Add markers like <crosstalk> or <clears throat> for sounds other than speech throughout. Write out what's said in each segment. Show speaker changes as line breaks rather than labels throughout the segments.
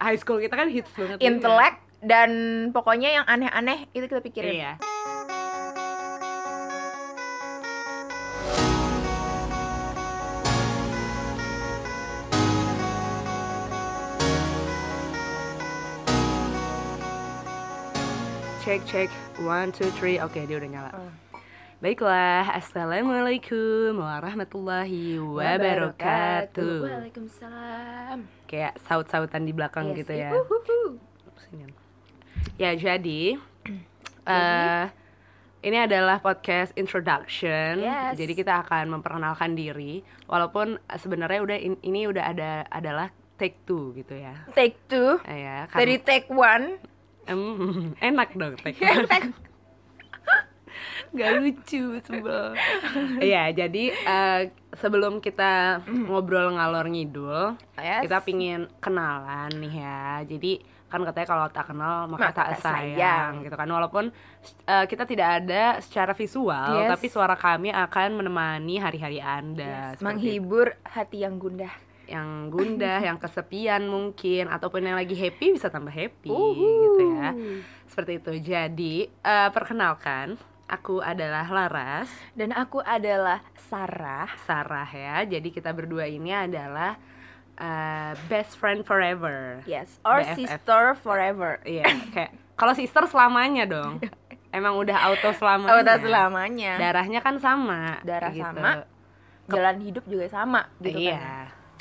high school kita kan hits banget. juga.
intelek dan pokoknya yang aneh-aneh itu kita pikirin.
Iya. Cek cek one two three oke dia udah nyala.
Oh.
Baiklah, assalamualaikum warahmatullahi wabarakatuh.
Waalaikumsalam.
Kayak saut-sautan di belakang
Yes.
gitu ya.
Uhuhu.
Senyum. Ya jadi, <clears throat> eh, ini adalah podcast introduction.
Yes.
Jadi kita akan memperkenalkan diri. Walaupun eh, sebenarnya udah in- ini udah ada adalah take two gitu ya.
Take two.
Eh, Ya, kan-
Dari take one.
Em, <laughs> enak dong take
<laughs>
two.
Take-
Gak lucu
<laughs>
sebel. Iya jadi eh, sebelum kita
Mm.
ngobrol ngalor ngidul,
Yes.
kita pingin kenalan nih ya jadi kan katanya kalau tak kenal maka,
Maka
tak
tak
sayang,
sayang.
gitu kan walaupun eh, kita tidak ada secara visual
Yes.
tapi suara kami akan menemani hari-hari anda
Yes,
seperti
Menghibur hati yang gundah.
yang gundah yang kesepian mungkin ataupun yang lagi happy bisa tambah happy
Uhu.
gitu ya seperti itu jadi eh, perkenalkan aku adalah Laras
Dan aku adalah Sarah.
Sarah ya jadi kita berdua ini adalah eh, best friend forever
Yes, or
BFF.
sister forever.
Iya, kayak kalau sister selamanya dong. Emang udah auto selamanya.
Oh, tak selamanya.
Darahnya kan sama.
Darah sama, Jalan hidup juga sama gitu kan.
iya.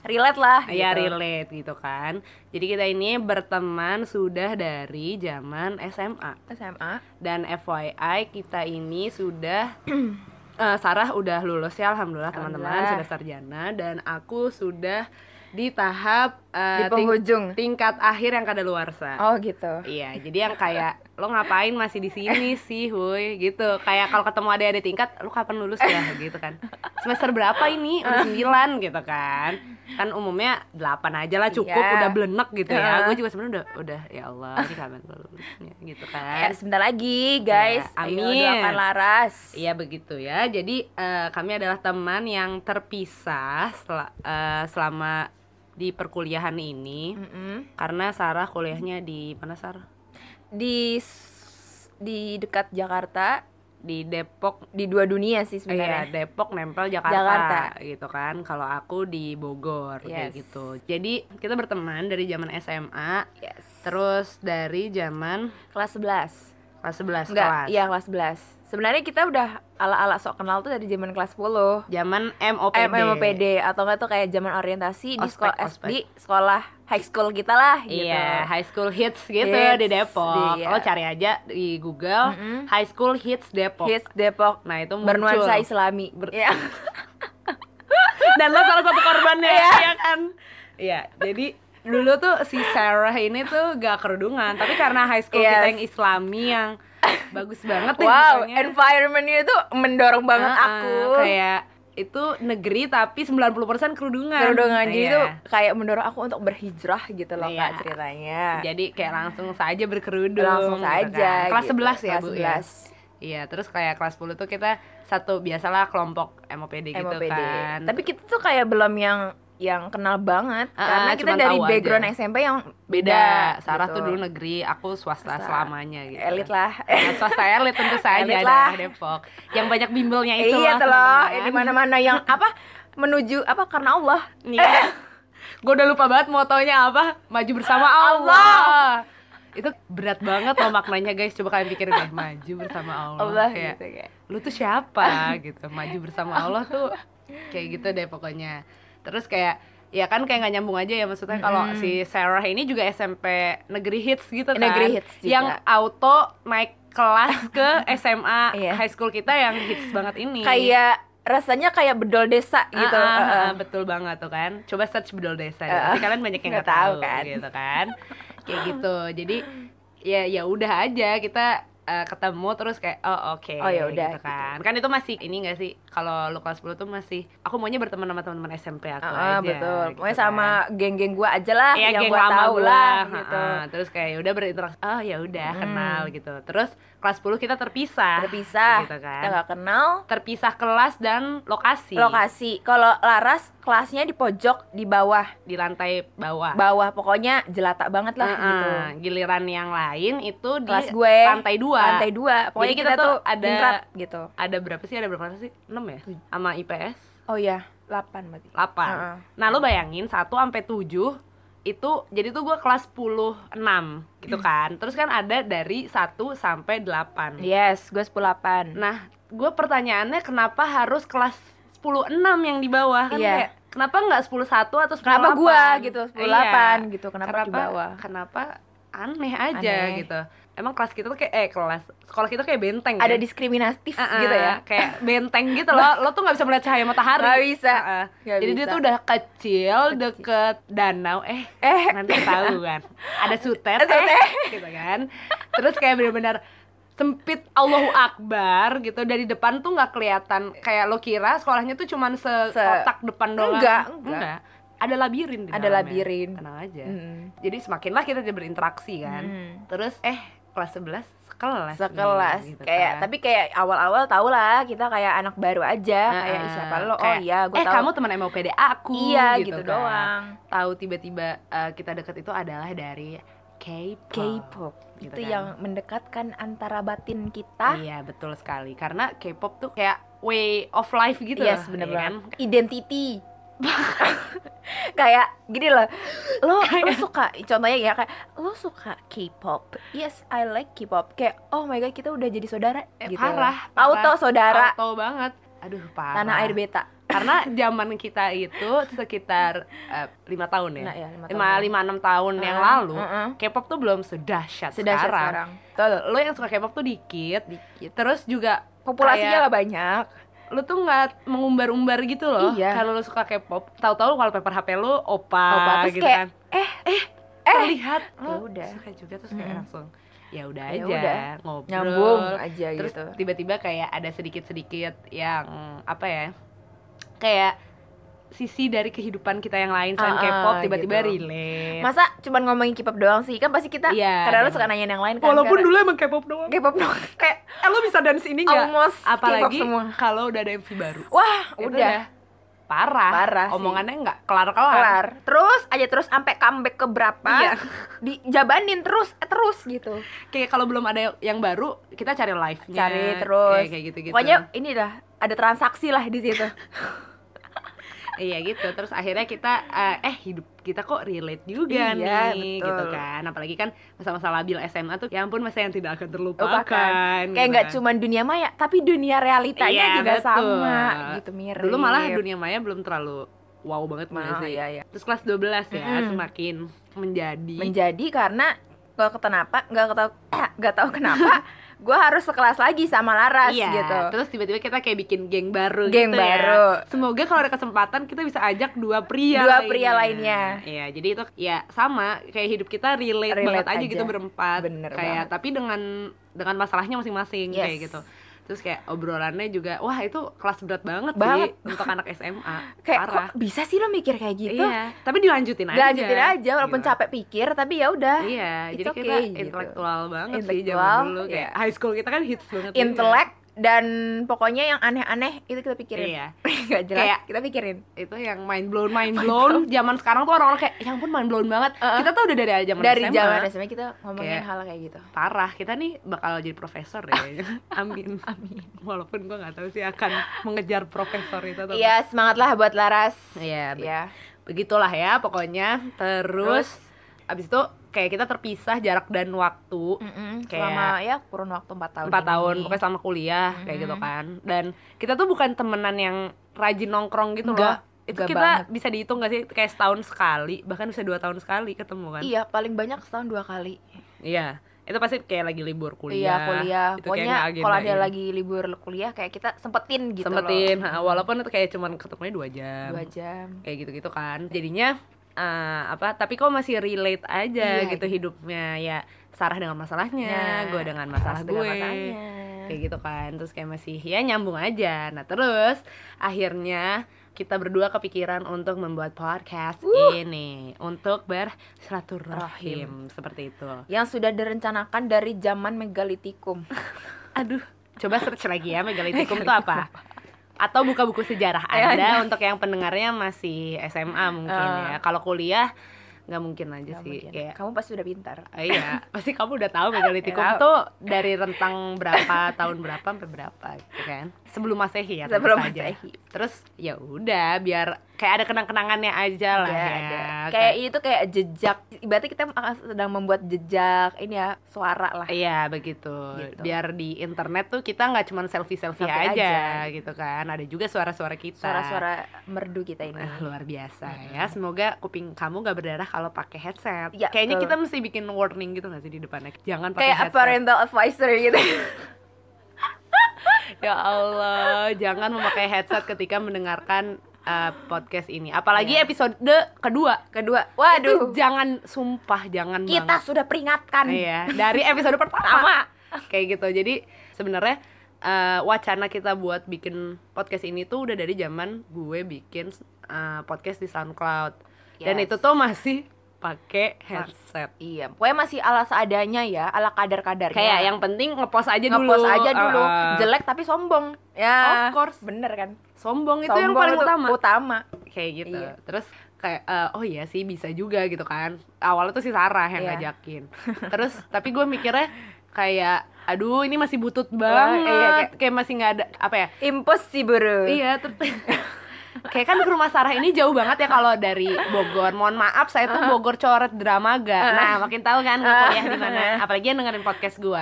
Relate lah.
Iya
gitu.
relate gitu kan. Jadi kita ini berteman sudah dari zaman SMA Eh,
SMA.
dan FYI kita ini sudah <clears throat> eh, Sarah udah lulus ya alhamdulillah teman-teman
Alhamdulillah.
sudah sarjana dan aku sudah di tahap
Di
eh, ting-
penghujung.
tingkat akhir yang kadaluarsa.
Oh, gitu.
Iya, jadi yang kayak lo ngapain masih di sini sih, Hui? Gitu. Kayak kalau ketemu ada ada tingkat, lo kapan lulus ya gitu kan. Semester berapa ini?
<laughs>
Udah 9 gitu kan. Kan umumnya 8 aja lah cukup,
Iya.
udah blenek gitu ya.
Heeh.
Gue juga sebenarnya udah udah ya Allah, ini kapan gue lulusnya gitu
Ya,
kan.
sebentar lagi, guys.
Ya,
Ayo
amin.
doakan Laras.
Iya begitu ya. Jadi eh, kami adalah teman yang terpisah sel- eh, selama di perkuliahan ini
Mm-mm.
karena Sarah kuliahnya di mana Sarah?
Di s- di dekat Jakarta,
Di Depok
di dua dunia sih
Iya,
sebenarnya.
Depok nempel Jakarta,
Jakarta.
gitu kan. Kalau aku di Bogor kayak
Yes.
gitu. Jadi kita berteman dari zaman SMA,
Yes.
terus dari zaman
Kelas 11.
kelas 11
Enggak,
kelas.
iya kelas 11. Sebenarnya kita udah ala-ala sok kenal tuh dari zaman kelas 10.
Zaman MOPD.
MMOPD atau enggak tuh kayak zaman orientasi di
Ospek,
sekolah eh,
ospek.
di sekolah high school kita lah gitu.
Iya, high school hits gitu
Hits,
di Depok.
iya.
Lo cari aja di Google
Mm-mm.
high school hits Depok.
Hits Depok
Nah, itu muncul.
bernuansa Islami. Iya.
dan lo salah satu korbannya
Iya.
ya kan iya jadi dulu tuh si Sarah ini tuh gak kerudungan tapi karena high school kita
Yes.
yang islami yang bagus banget deh
<laughs> Wow,
pokoknya.
environment-nya itu mendorong banget
Heeh,
aku.
Ah, kayak itu negeri tapi 90% kerudungan
Kerudungan jadi
Iya.
itu kayak mendorong aku untuk berhijrah gitu loh
Iya.
Kak ceritanya.
jadi kayak langsung saja berkerudung
Langsung
gitu kan.
saja.
kelas
gitu.
11 ya
kelas
Bu
11.
ya? iya terus kayak kelas 10 tuh kita satu biasalah kelompok MOPD, gitu
MOPD.
kan
Tapi kita tuh kayak belum yang yang kenal banget
Ah,
karena
ah,
kita
cuman
dari
tahu
background
aja.
SMP yang
beda Sarah
gitu.
tuh dulu negeri aku swasta
Swasta.
selamanya gitu
elit lah.
Nah, swasta elit tentu saja
Elit lah.
daerah Depok yang banyak bimbelnya Nah, itu
<laughs> iya tuh loh,
teman-teman.
di mana-mana yang apa menuju apa karena Allah.
Nih, <laughs> gue udah lupa banget motonya apa maju bersama
Ah,
Allah, itu berat banget loh maknanya guys coba kalian pikirin deh maju bersama Allah,
Allah
Kayak,
gitu kayak.
lu tuh
<laughs>
siapa gitu maju bersama Allah tuh kayak gitu deh pokoknya terus kayak ya kan kayak nggak nyambung aja ya maksudnya kalau
Mm-mm.
si Sarah ini juga SMP negeri hits gitu kan
Negeri hits juga.
yang auto naik kelas
<laughs>
ke SMA
Iya.
high school kita yang hits banget ini
Kayak rasanya kayak bedol
Ah,
desa gitu.
ah,
Heeh.
ah, betul banget tuh kan coba search bedol desa deh,
Ah,
pasti kalian banyak yang
nggak
nggak
tahu
tahu
kan.
gitu kan kayak
<laughs>
gitu jadi ya ya udah aja kita eh, ketemu terus kayak oh oke
Oh, ya
gitu
udah,
kan kan itu masih ini nggak sih kalau lu kelas 10 tuh masih aku maunya berteman sama teman-teman SMP aku
Heeh,
aja
betul.
gitu
Pokoknya
kan.
sama geng-geng gua aja lah
Iya,
yang
geng
gua
lama
tahu
gua,
lah
ha-ha.
gitu.
terus kayak ya udah berinteraksi oh ya udah
Hmm.
kenal gitu terus kelas 10 kita terpisah
Terpisah.
Iya, gitu
Kita
kan Iya.
nggak kenal
terpisah kelas dan lokasi
lokasi. Kalau Laras kelasnya di pojok di bawah
di lantai bawah.
bawah pokoknya jelata banget lah
Heeh,
gitu
Giliran yang lain itu di
kelas gue
lantai dua.
lantai dua pokoknya
Jadi
kita,
kita
tuh
tuh ada-
ningrat gitu
Ada berapa sih? Ada berapa kelas sih? 6 ya? Sama IPS
oh iya 8 berarti
8.
Heeh.
Nah, lu bayangin 1 sampai 7 itu jadi tuh gue kelas 10 6
<clears throat>
gitu kan. Terus kan ada dari 1 sampai 8.
yes gue
Hmm.
18
Nah, gue pertanyaannya kenapa harus kelas 10 6 yang di bawah kan
Iya.
kayak kenapa nggak 10 1 atau Iya. 10
kenapa gue gitu
18
18 gitu kenapa,
kenapa,
di bawah
Kenapa aneh aja
Aneh.
gitu. Emang kelas kita tuh kayak eh kelas sekolah kita kayak benteng. ya.
ada diskriminatif
Heeh,
gitu ya <laughs> Nah.
Kayak benteng gitu loh. Lo tuh nggak bisa melihat cahaya matahari.
Nggak bisa.
Heeh.
Nggak
Jadi dia
bisa.
tuh udah kecil, deket danau eh
eh
nanti ketahuan ada sutet eh,
Sutet.
gitu kan terus kayak bener-bener sempit Allahu Akbar gitu dari depan tuh nggak kelihatan kayak lo kira sekolahnya tuh cuman sekotak depan doang
Enggak, enggak.
ada labirin di
<laughs> Ada
dalamnya.
labirin.
tenang aja
Mm.
jadi semakinlah kita dia berinteraksi kan
Mm.
terus eh kelas 11 sekelas nih,
sekelas
gitu
kayak
kan.
tapi kayak awal-awal tau lah kita kayak anak baru aja kayak
Heeh,
"Ih, siapa lo oh
kayak,
iya gue
eh
tahu
kamu teman MOPD aku
iya gitu,
kan.
doang
tahu tiba-tiba eh, kita deket itu adalah dari K-pop,
K-pop
gitu
itu
kan.
yang mendekatkan antara batin kita
Iya betul sekali karena K-pop tuh kayak way of life gitu
yes
loh,
bener
ya kan?
banget identity <laughs> kayak gini loh lo lo suka contohnya ya kayak lo suka K-pop yes I like K-pop kayak oh my god kita udah jadi saudara
Eh,
gitu
parah, parah.
auto saudara
Auto banget. Aduh parah.
tanah air beta
karena zaman kita itu sekitar eh, lima tahun ya.
Nah, ya, lima
lima
tahun. Ah,
lima enam tahun yang
Heeh,
lalu
heeh.
K-pop tuh belum sedahsyat
sudah
sekarang.
sekarang Betul.
Lo yang suka K-pop tuh dikit,
dikit
terus juga kayak-
populasinya nggak banyak
lu tuh nggak mengumbar-umbar gitu loh
Iya.
kalau lu suka K-pop tahu-tahu wallpaper HP lu opa,
Opa, terus
gitu
kayak,
kan
eh,
eh
eh,
terlihat
ya
Lu
udah.
suka juga terus kayak
Mm-mm.
langsung ya udah
Ya
aja
udah.
ngobrol
nyambung aja
terus
gitu
tiba-tiba kayak ada sedikit-sedikit yang apa ya kayak sisi dari kehidupan kita yang lain selain
Ah, ah,
K-pop tiba-tiba
gitu.
relate
masa cuman ngomongin K-pop doang sih kan pasti kita
Iya,
kadang-kadang
emang.
suka nanyain yang lain kan
walaupun
karena-
dulu emang K-pop doang
K-pop doang
<laughs> kayak eh, lu bisa dance ini nggak
almost K-pop
apalagi
semua
kalau udah ada MV baru
wah
Itu
udah
parah
Parah sih.
omongannya nggak kelar kelar
kelar terus aja terus sampai comeback ke berapa
Iya.
<laughs> dijabanin terus eh, terus gitu
kayak kalau belum ada yang baru kita cari live nya
Cari terus.
kayak, gitu gitu
pokoknya ini dah ada transaksi lah di
<laughs>
situ
iya gitu terus akhirnya kita eh, eh hidup kita kok relate juga
Iya,
nih
betul.
gitu kan apalagi kan masa-masa labil SMA tuh ya ampun masa yang tidak akan terlupakan
Lupakan.
gitu
kayak nggak
kan.
cuma dunia maya tapi dunia realitanya
Iya,
juga
betul.
sama gitu mirip
dulu malah dunia maya belum terlalu wow banget
Nah,
mana sih
iya, iya.
terus kelas 12 ya
Mm-mm.
semakin menjadi
menjadi karena gak kenapa nggak tahu <clears throat> nggak tahu kenapa
<laughs>
gue harus sekelas lagi sama Laras
Iya,
gitu
terus tiba-tiba kita kayak bikin geng baru gitu ya.
Geng baru.
Semoga kalau ada kesempatan kita bisa ajak dua pria
Dua pria lainnya.
Iya, jadi itu ya sama kayak hidup kita relate,
Relate
banget aja,
aja.
gitu berempat.
Bener
kayak tapi dengan dengan masalahnya masing-masing
Yes.
kayak gitu. Terus kayak obrolannya juga wah itu kelas berat banget,
Banget.
sih untuk anak SMA.
<laughs> kayak
Parah.
kok bisa sih lo mikir kayak gitu
Iya, tapi dilanjutin aja.
lanjutin aja walaupun
Gitu.
capek pikir tapi ya udah
Iya, jadi
It's
kita
okay, gitu.
intelektual banget sih
Intelektual, iya.
zaman dulu kayak high school kita kan hits banget. juga.
intelek dan pokoknya yang aneh-aneh itu kita pikirin
Iya.
<laughs> nggak jelas
Kayak-
kita pikirin
itu yang mind blown mind blown zaman sekarang tuh orang-orang kayak ya ampun mind blown banget kita tuh udah dari zaman
dari
SMA.
zaman SMA kita ngomongin
Kayak-
hal kayak gitu
parah kita nih bakal jadi profesor ya <laughs> amin amin walaupun gua nggak tahu sih akan mengejar profesor itu atau
iya semangatlah buat Laras
enggak. iya be-
ya
begitulah ya pokoknya terus, abis itu kayak kita terpisah jarak dan waktu
mm
Kayak-
selama ya kurun waktu 4 tahun ya. Iya,
empat
ini.
tahun pokoknya selama kuliah kayak gitu
Mhm.
kan dan kita tuh bukan temenan yang rajin nongkrong gitu
Enggak,
loh itu
enggak
kita bisa dihitung gak sih kayak setahun sekali bahkan bisa dua tahun sekali ketemu kan
iya paling banyak setahun dua kali
Iya, itu pasti kayak lagi libur
iya
kuliah.
kuliah
Itu kayak
pokoknya
ngeagendain.
kalau ada lagi libur kuliah kayak kita sempetin gitu
sempetin,
loh.
ha, walaupun itu kayak cuman ketemunya dua jam,
dua jam
kayak gitu-gitu kan. Jadinya eh, apa? Tapi kok masih relate aja
Iya,
gitu hidupnya ya. Sarah dengan masalahnya,
Nah,
gue Iya, dengan masalah
Laras
gue.
dengan masalahnya.
Kayak gitu kan. Terus kayak masih ya nyambung aja. Nah, terus akhirnya kita berdua kepikiran untuk membuat podcast ini untuk bersilaturahim seperti itu.
yang sudah direncanakan dari zaman megalitikum <laughs>
Aduh, coba search lagi ya megalitikum itu apa? atau buka buku sejarah
Ya,
Anda untuk yang pendengarnya masih SMA mungkin
Eh.
ya. Kalau kuliah nggak mungkin <laughs> aja
Nggak
sih.
mungkin.
Kayak
Kamu pasti udah pintar.
Eh, iya, pasti kamu udah
<laughs>
tahu megalitikum
Tahu.
itu dari rentang berapa tahun berapa sampai berapa gitu kan. Sebelum Masehi ya, tentu
Sebelum
saja.
Masehi.
Terus ya udah biar kayak ada kenang-kenangannya aja lah
Ada,
ya.
Iya, ada. Kayak
Kayak
itu kayak jejak. Berarti kita akan sedang membuat jejak ini ya suara lah.
Iya begitu.
Gitu.
Biar di internet tuh kita nggak cuma selfie selfie aja,
Selfie aja.
gitu kan. Ada juga suara-suara kita.
Suara-suara merdu kita ini. <laughs>
Eh, luar biasa
Iya. Mm-mm.
ya. Semoga kuping kamu nggak berdarah kalau pakai headset.
Ya,
Kayaknya
betul.
kita mesti bikin warning gitu nggak sih di depannya. Jangan pakai
Kayak
headset.
parental advisor
<laughs>
gitu.
Ya Allah, jangan memakai headset ketika mendengarkan eh, podcast ini. Apalagi
Iya.
episode kedua.
Kedua,
Itu
waduh.
jangan sumpah, jangan
Kita
banget.
sudah peringatkan.
Iya, dari episode pertama
Sama.
kayak gitu. Jadi sebenarnya eh, wacana kita buat bikin podcast ini tuh udah dari zaman gue bikin eh, podcast di SoundCloud. Dan
Yes.
itu tuh masih pakai headset.
Iya, pokoknya masih ala seadanya ya, ala kadar-kadarnya.
Kayak yang penting Iya. ngepost aja dulu.
ngepost aja dulu,
Uh-uh.
jelek tapi sombong. Ya.
Of course.
Bener kan?
Sombong itu yang
Sombong
paling
itu
utama.
Utama.
kayak gitu
Iya.
terus kayak eh, oh iya sih bisa juga gitu kan awalnya tuh si Sarah yang <laughs>
Iya.
ngajakin terus tapi gue mikirnya kayak aduh ini masih butut
Wah,
banget
iya,
kayak,
kayak-
masih nggak ada apa ya
Impossible.
iya terus <laughs> kayak kan ke rumah Sarah ini jauh banget ya kalau dari Bogor mohon maaf saya tuh Bogor coret dramaga nah makin tahu kan gue kuliah di mana apalagi yang dengerin podcast gue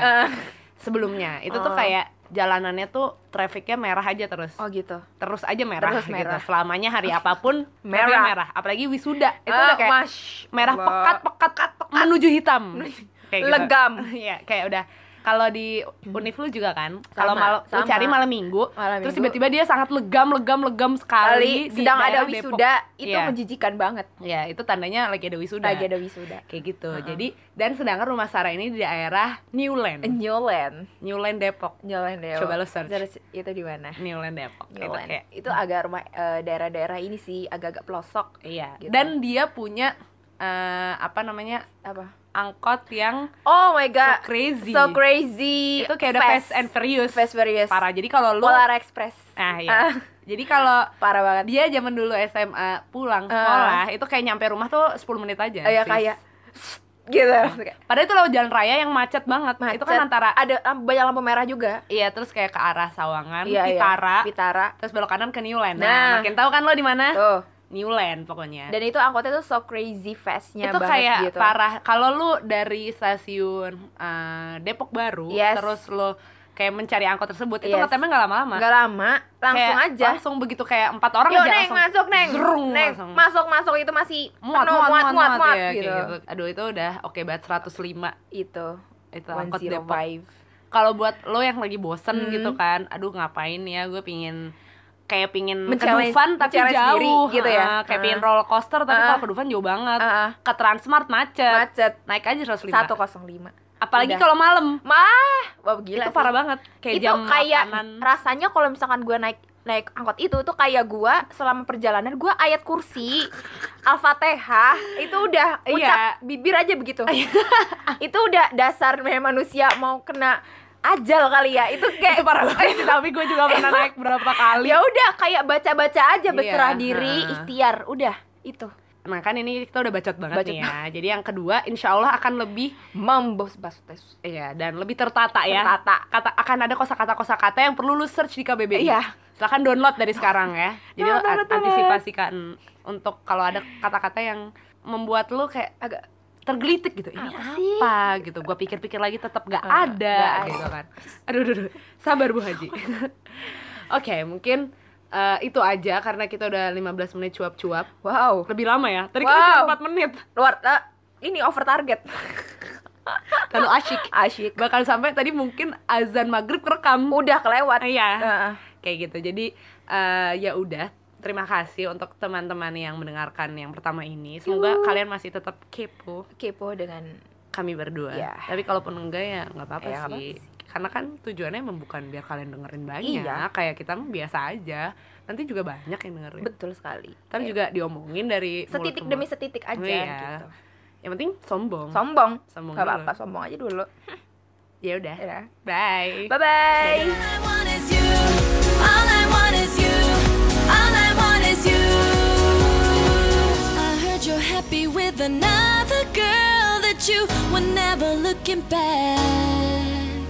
sebelumnya itu tuh
Oh.
kayak jalanannya tuh trafficnya merah aja terus
Oh gitu.
terus aja merah,
Terus merah.
gitu. Selamanya hari apapun
Merah.
merah. merah. Apalagi wisuda itu
Ah,
udah kayak
mash-
merah
Allah.
pekat pekat pekat pekat menuju hitam. Kayak gitu.
Legam.
<laughs> Iya, kayak udah kalau di univ lu juga kan, kalau
Sama,
malam lu
sama.
cari malam minggu,
Malam
terus
Minggu.
tiba-tiba dia sangat legam legam legam sekali
Kali
di
sedang ada
daerah Depok.
wisuda itu
Iya.
menjijikan banget.
Ya, itu tandanya lagi ada wisuda.
Lagi ada wisuda.
Kayak gitu. Jadi dan sedangkan rumah Sarah ini di daerah
Hmm.
Newland,
Nyolen,
Newland Depok.
Nyolen deh.
Coba lu search.
itu di mana?
Newland Depok. Itu
Nyolen.
kayak
Itu agak rumah eh, daerah-daerah ini sih agak-agak pelosok
Iya.
Gitu.
Dan dia punya eh, apa namanya
apa?
angkot yang
Oh my
so
god.
crazy.
So crazy.
Itu kayak ada Fast and Furious.
Iya, Fast Furious.
Parah. Jadi kalau lu,
Polar Express.
nah
<laughs> Ah,
ya. Jadi kalau
parah banget.
dia zaman dulu SMA pulang sekolah itu kayak nyampe rumah tuh 10 menit aja.
Kayak
sis.
Iya, kayak gitu.
Padahal itu lewat jalan raya yang macet banget. Itu kan
Macet.
antara
ada lampu- banyak lampu merah juga.
iya terus kayak ke arah Sawangan,
Iya, iya.
Pitara,
Pitara.
terus belok kanan ke Newland.
Nah.
makin tahu kan lo di mana?
Tuh.
Newland pokoknya.
Dan itu angkotnya tuh so crazy
itu
fast-nya banget
kayak
gitu.
parah kalau lu dari stasiun eh, Depok Baru
Yes.
terus lu kayak mencari angkot tersebut itu
Yes.
ngetemnya nggak lama-lama
Nggak lama, langsung
Kayak
aja. Iya,
langsung begitu kayak empat orang
Yuk
aja
Neng,
langsung
masuk Neng.
zrung,
Neng,
langsung.
masuk masuk itu masih
muat
penuh,
muat muat muat, ya, kayak
gitu.
gitu. aduh itu udah oke banget 105
Itu.
itu
One
angkot
zero
Depok
five.
kalau buat lo yang lagi bosen
Hmm.
gitu kan aduh ngapain ya gue pingin kayak pingin ke
Men-challenge-
Dufan tapi
men-challenge diri
jauh
gitu ya.
Ah, kayak
Ah.
pingin roller coaster tapi
Ah.
kalau ke Dufan jauh banget
Ah, ah,
ke Transmart macet
macet
naik aja 105
105.
apalagi
Udah.
kalau malam
Mah, wah gila
itu
sih.
parah banget kayak
itu
jam
kayak
makanan
rasanya kalau misalkan gue naik naik angkot itu tuh kayak gue selama perjalanan gue ayat kursi al-fatihah itu udah
Iya.
ucap bibir aja begitu <laughs> itu udah dasar memang manusia mau kena ajal kali ya itu
itu
kayak
parah
<laughs>
banget tapi gue juga pernah naik berapa kali
ya udah kayak baca-baca aja
Iya,
berserah diri
ha.
ikhtiar udah itu
nah kan ini kita udah bacot banget
Bacot
nih ya jadi yang kedua insya Allah akan lebih
membos bas tes
ya dan lebih tertata ya
Tertata.
kata akan ada kosakata kosakata yang perlu lu search di KBBI
Iya.
silahkan download dari sekarang
<laughs>
ya jadi lu
Download,
an-
download.
antisipasikan untuk kalau ada kata-kata yang membuat lu kayak
agak
tergelitik gitu ini
Apa
apa,
sih?
gitu gue pikir-pikir lagi tetap gak
Ah,
ada
nggak
gitu kan aduh aduh, aduh. sabar bu haji <laughs> oke mungkin eh, itu aja karena kita udah 15 menit cuap-cuap
wow
lebih lama ya tadi kita
Wow.
cuma 4 menit
luar eh, ini over target
kalau asyik
asyik
bahkan sampai tadi mungkin azan maghrib kerekam
udah kelewat
iya
Heeh.
kayak gitu jadi eh, ya udah terima kasih untuk teman-teman yang mendengarkan yang pertama ini semoga
Yuhu.
kalian masih tetap kepo
kepo dengan
kami berdua.
Iya.
Tapi kalaupun enggak ya nggak apa-apa
Ya, nggak apa-apa
sih. Karena kan tujuannya emang bukan biar kalian dengerin banyak,
Iya.
kayak kita mah biasa aja. Nanti juga banyak yang dengerin.
betul sekali
Tapi Iya. juga diomongin dari mulut
setitik
ke
demi
mulut.
setitik aja
Iya.
gitu.
Yang penting sombong.
Sombong.
sombong
Gak
dulu.
apa-apa, sombong aja dulu.
Ya udah.
Ya.
Bye.
Bye bye.
All I want is you. All I want is you. be with another girl that you were never looking back.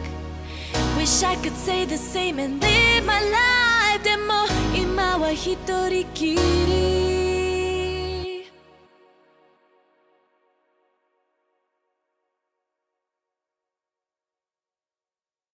Wish I could say the same and live my life. でも今は一人きり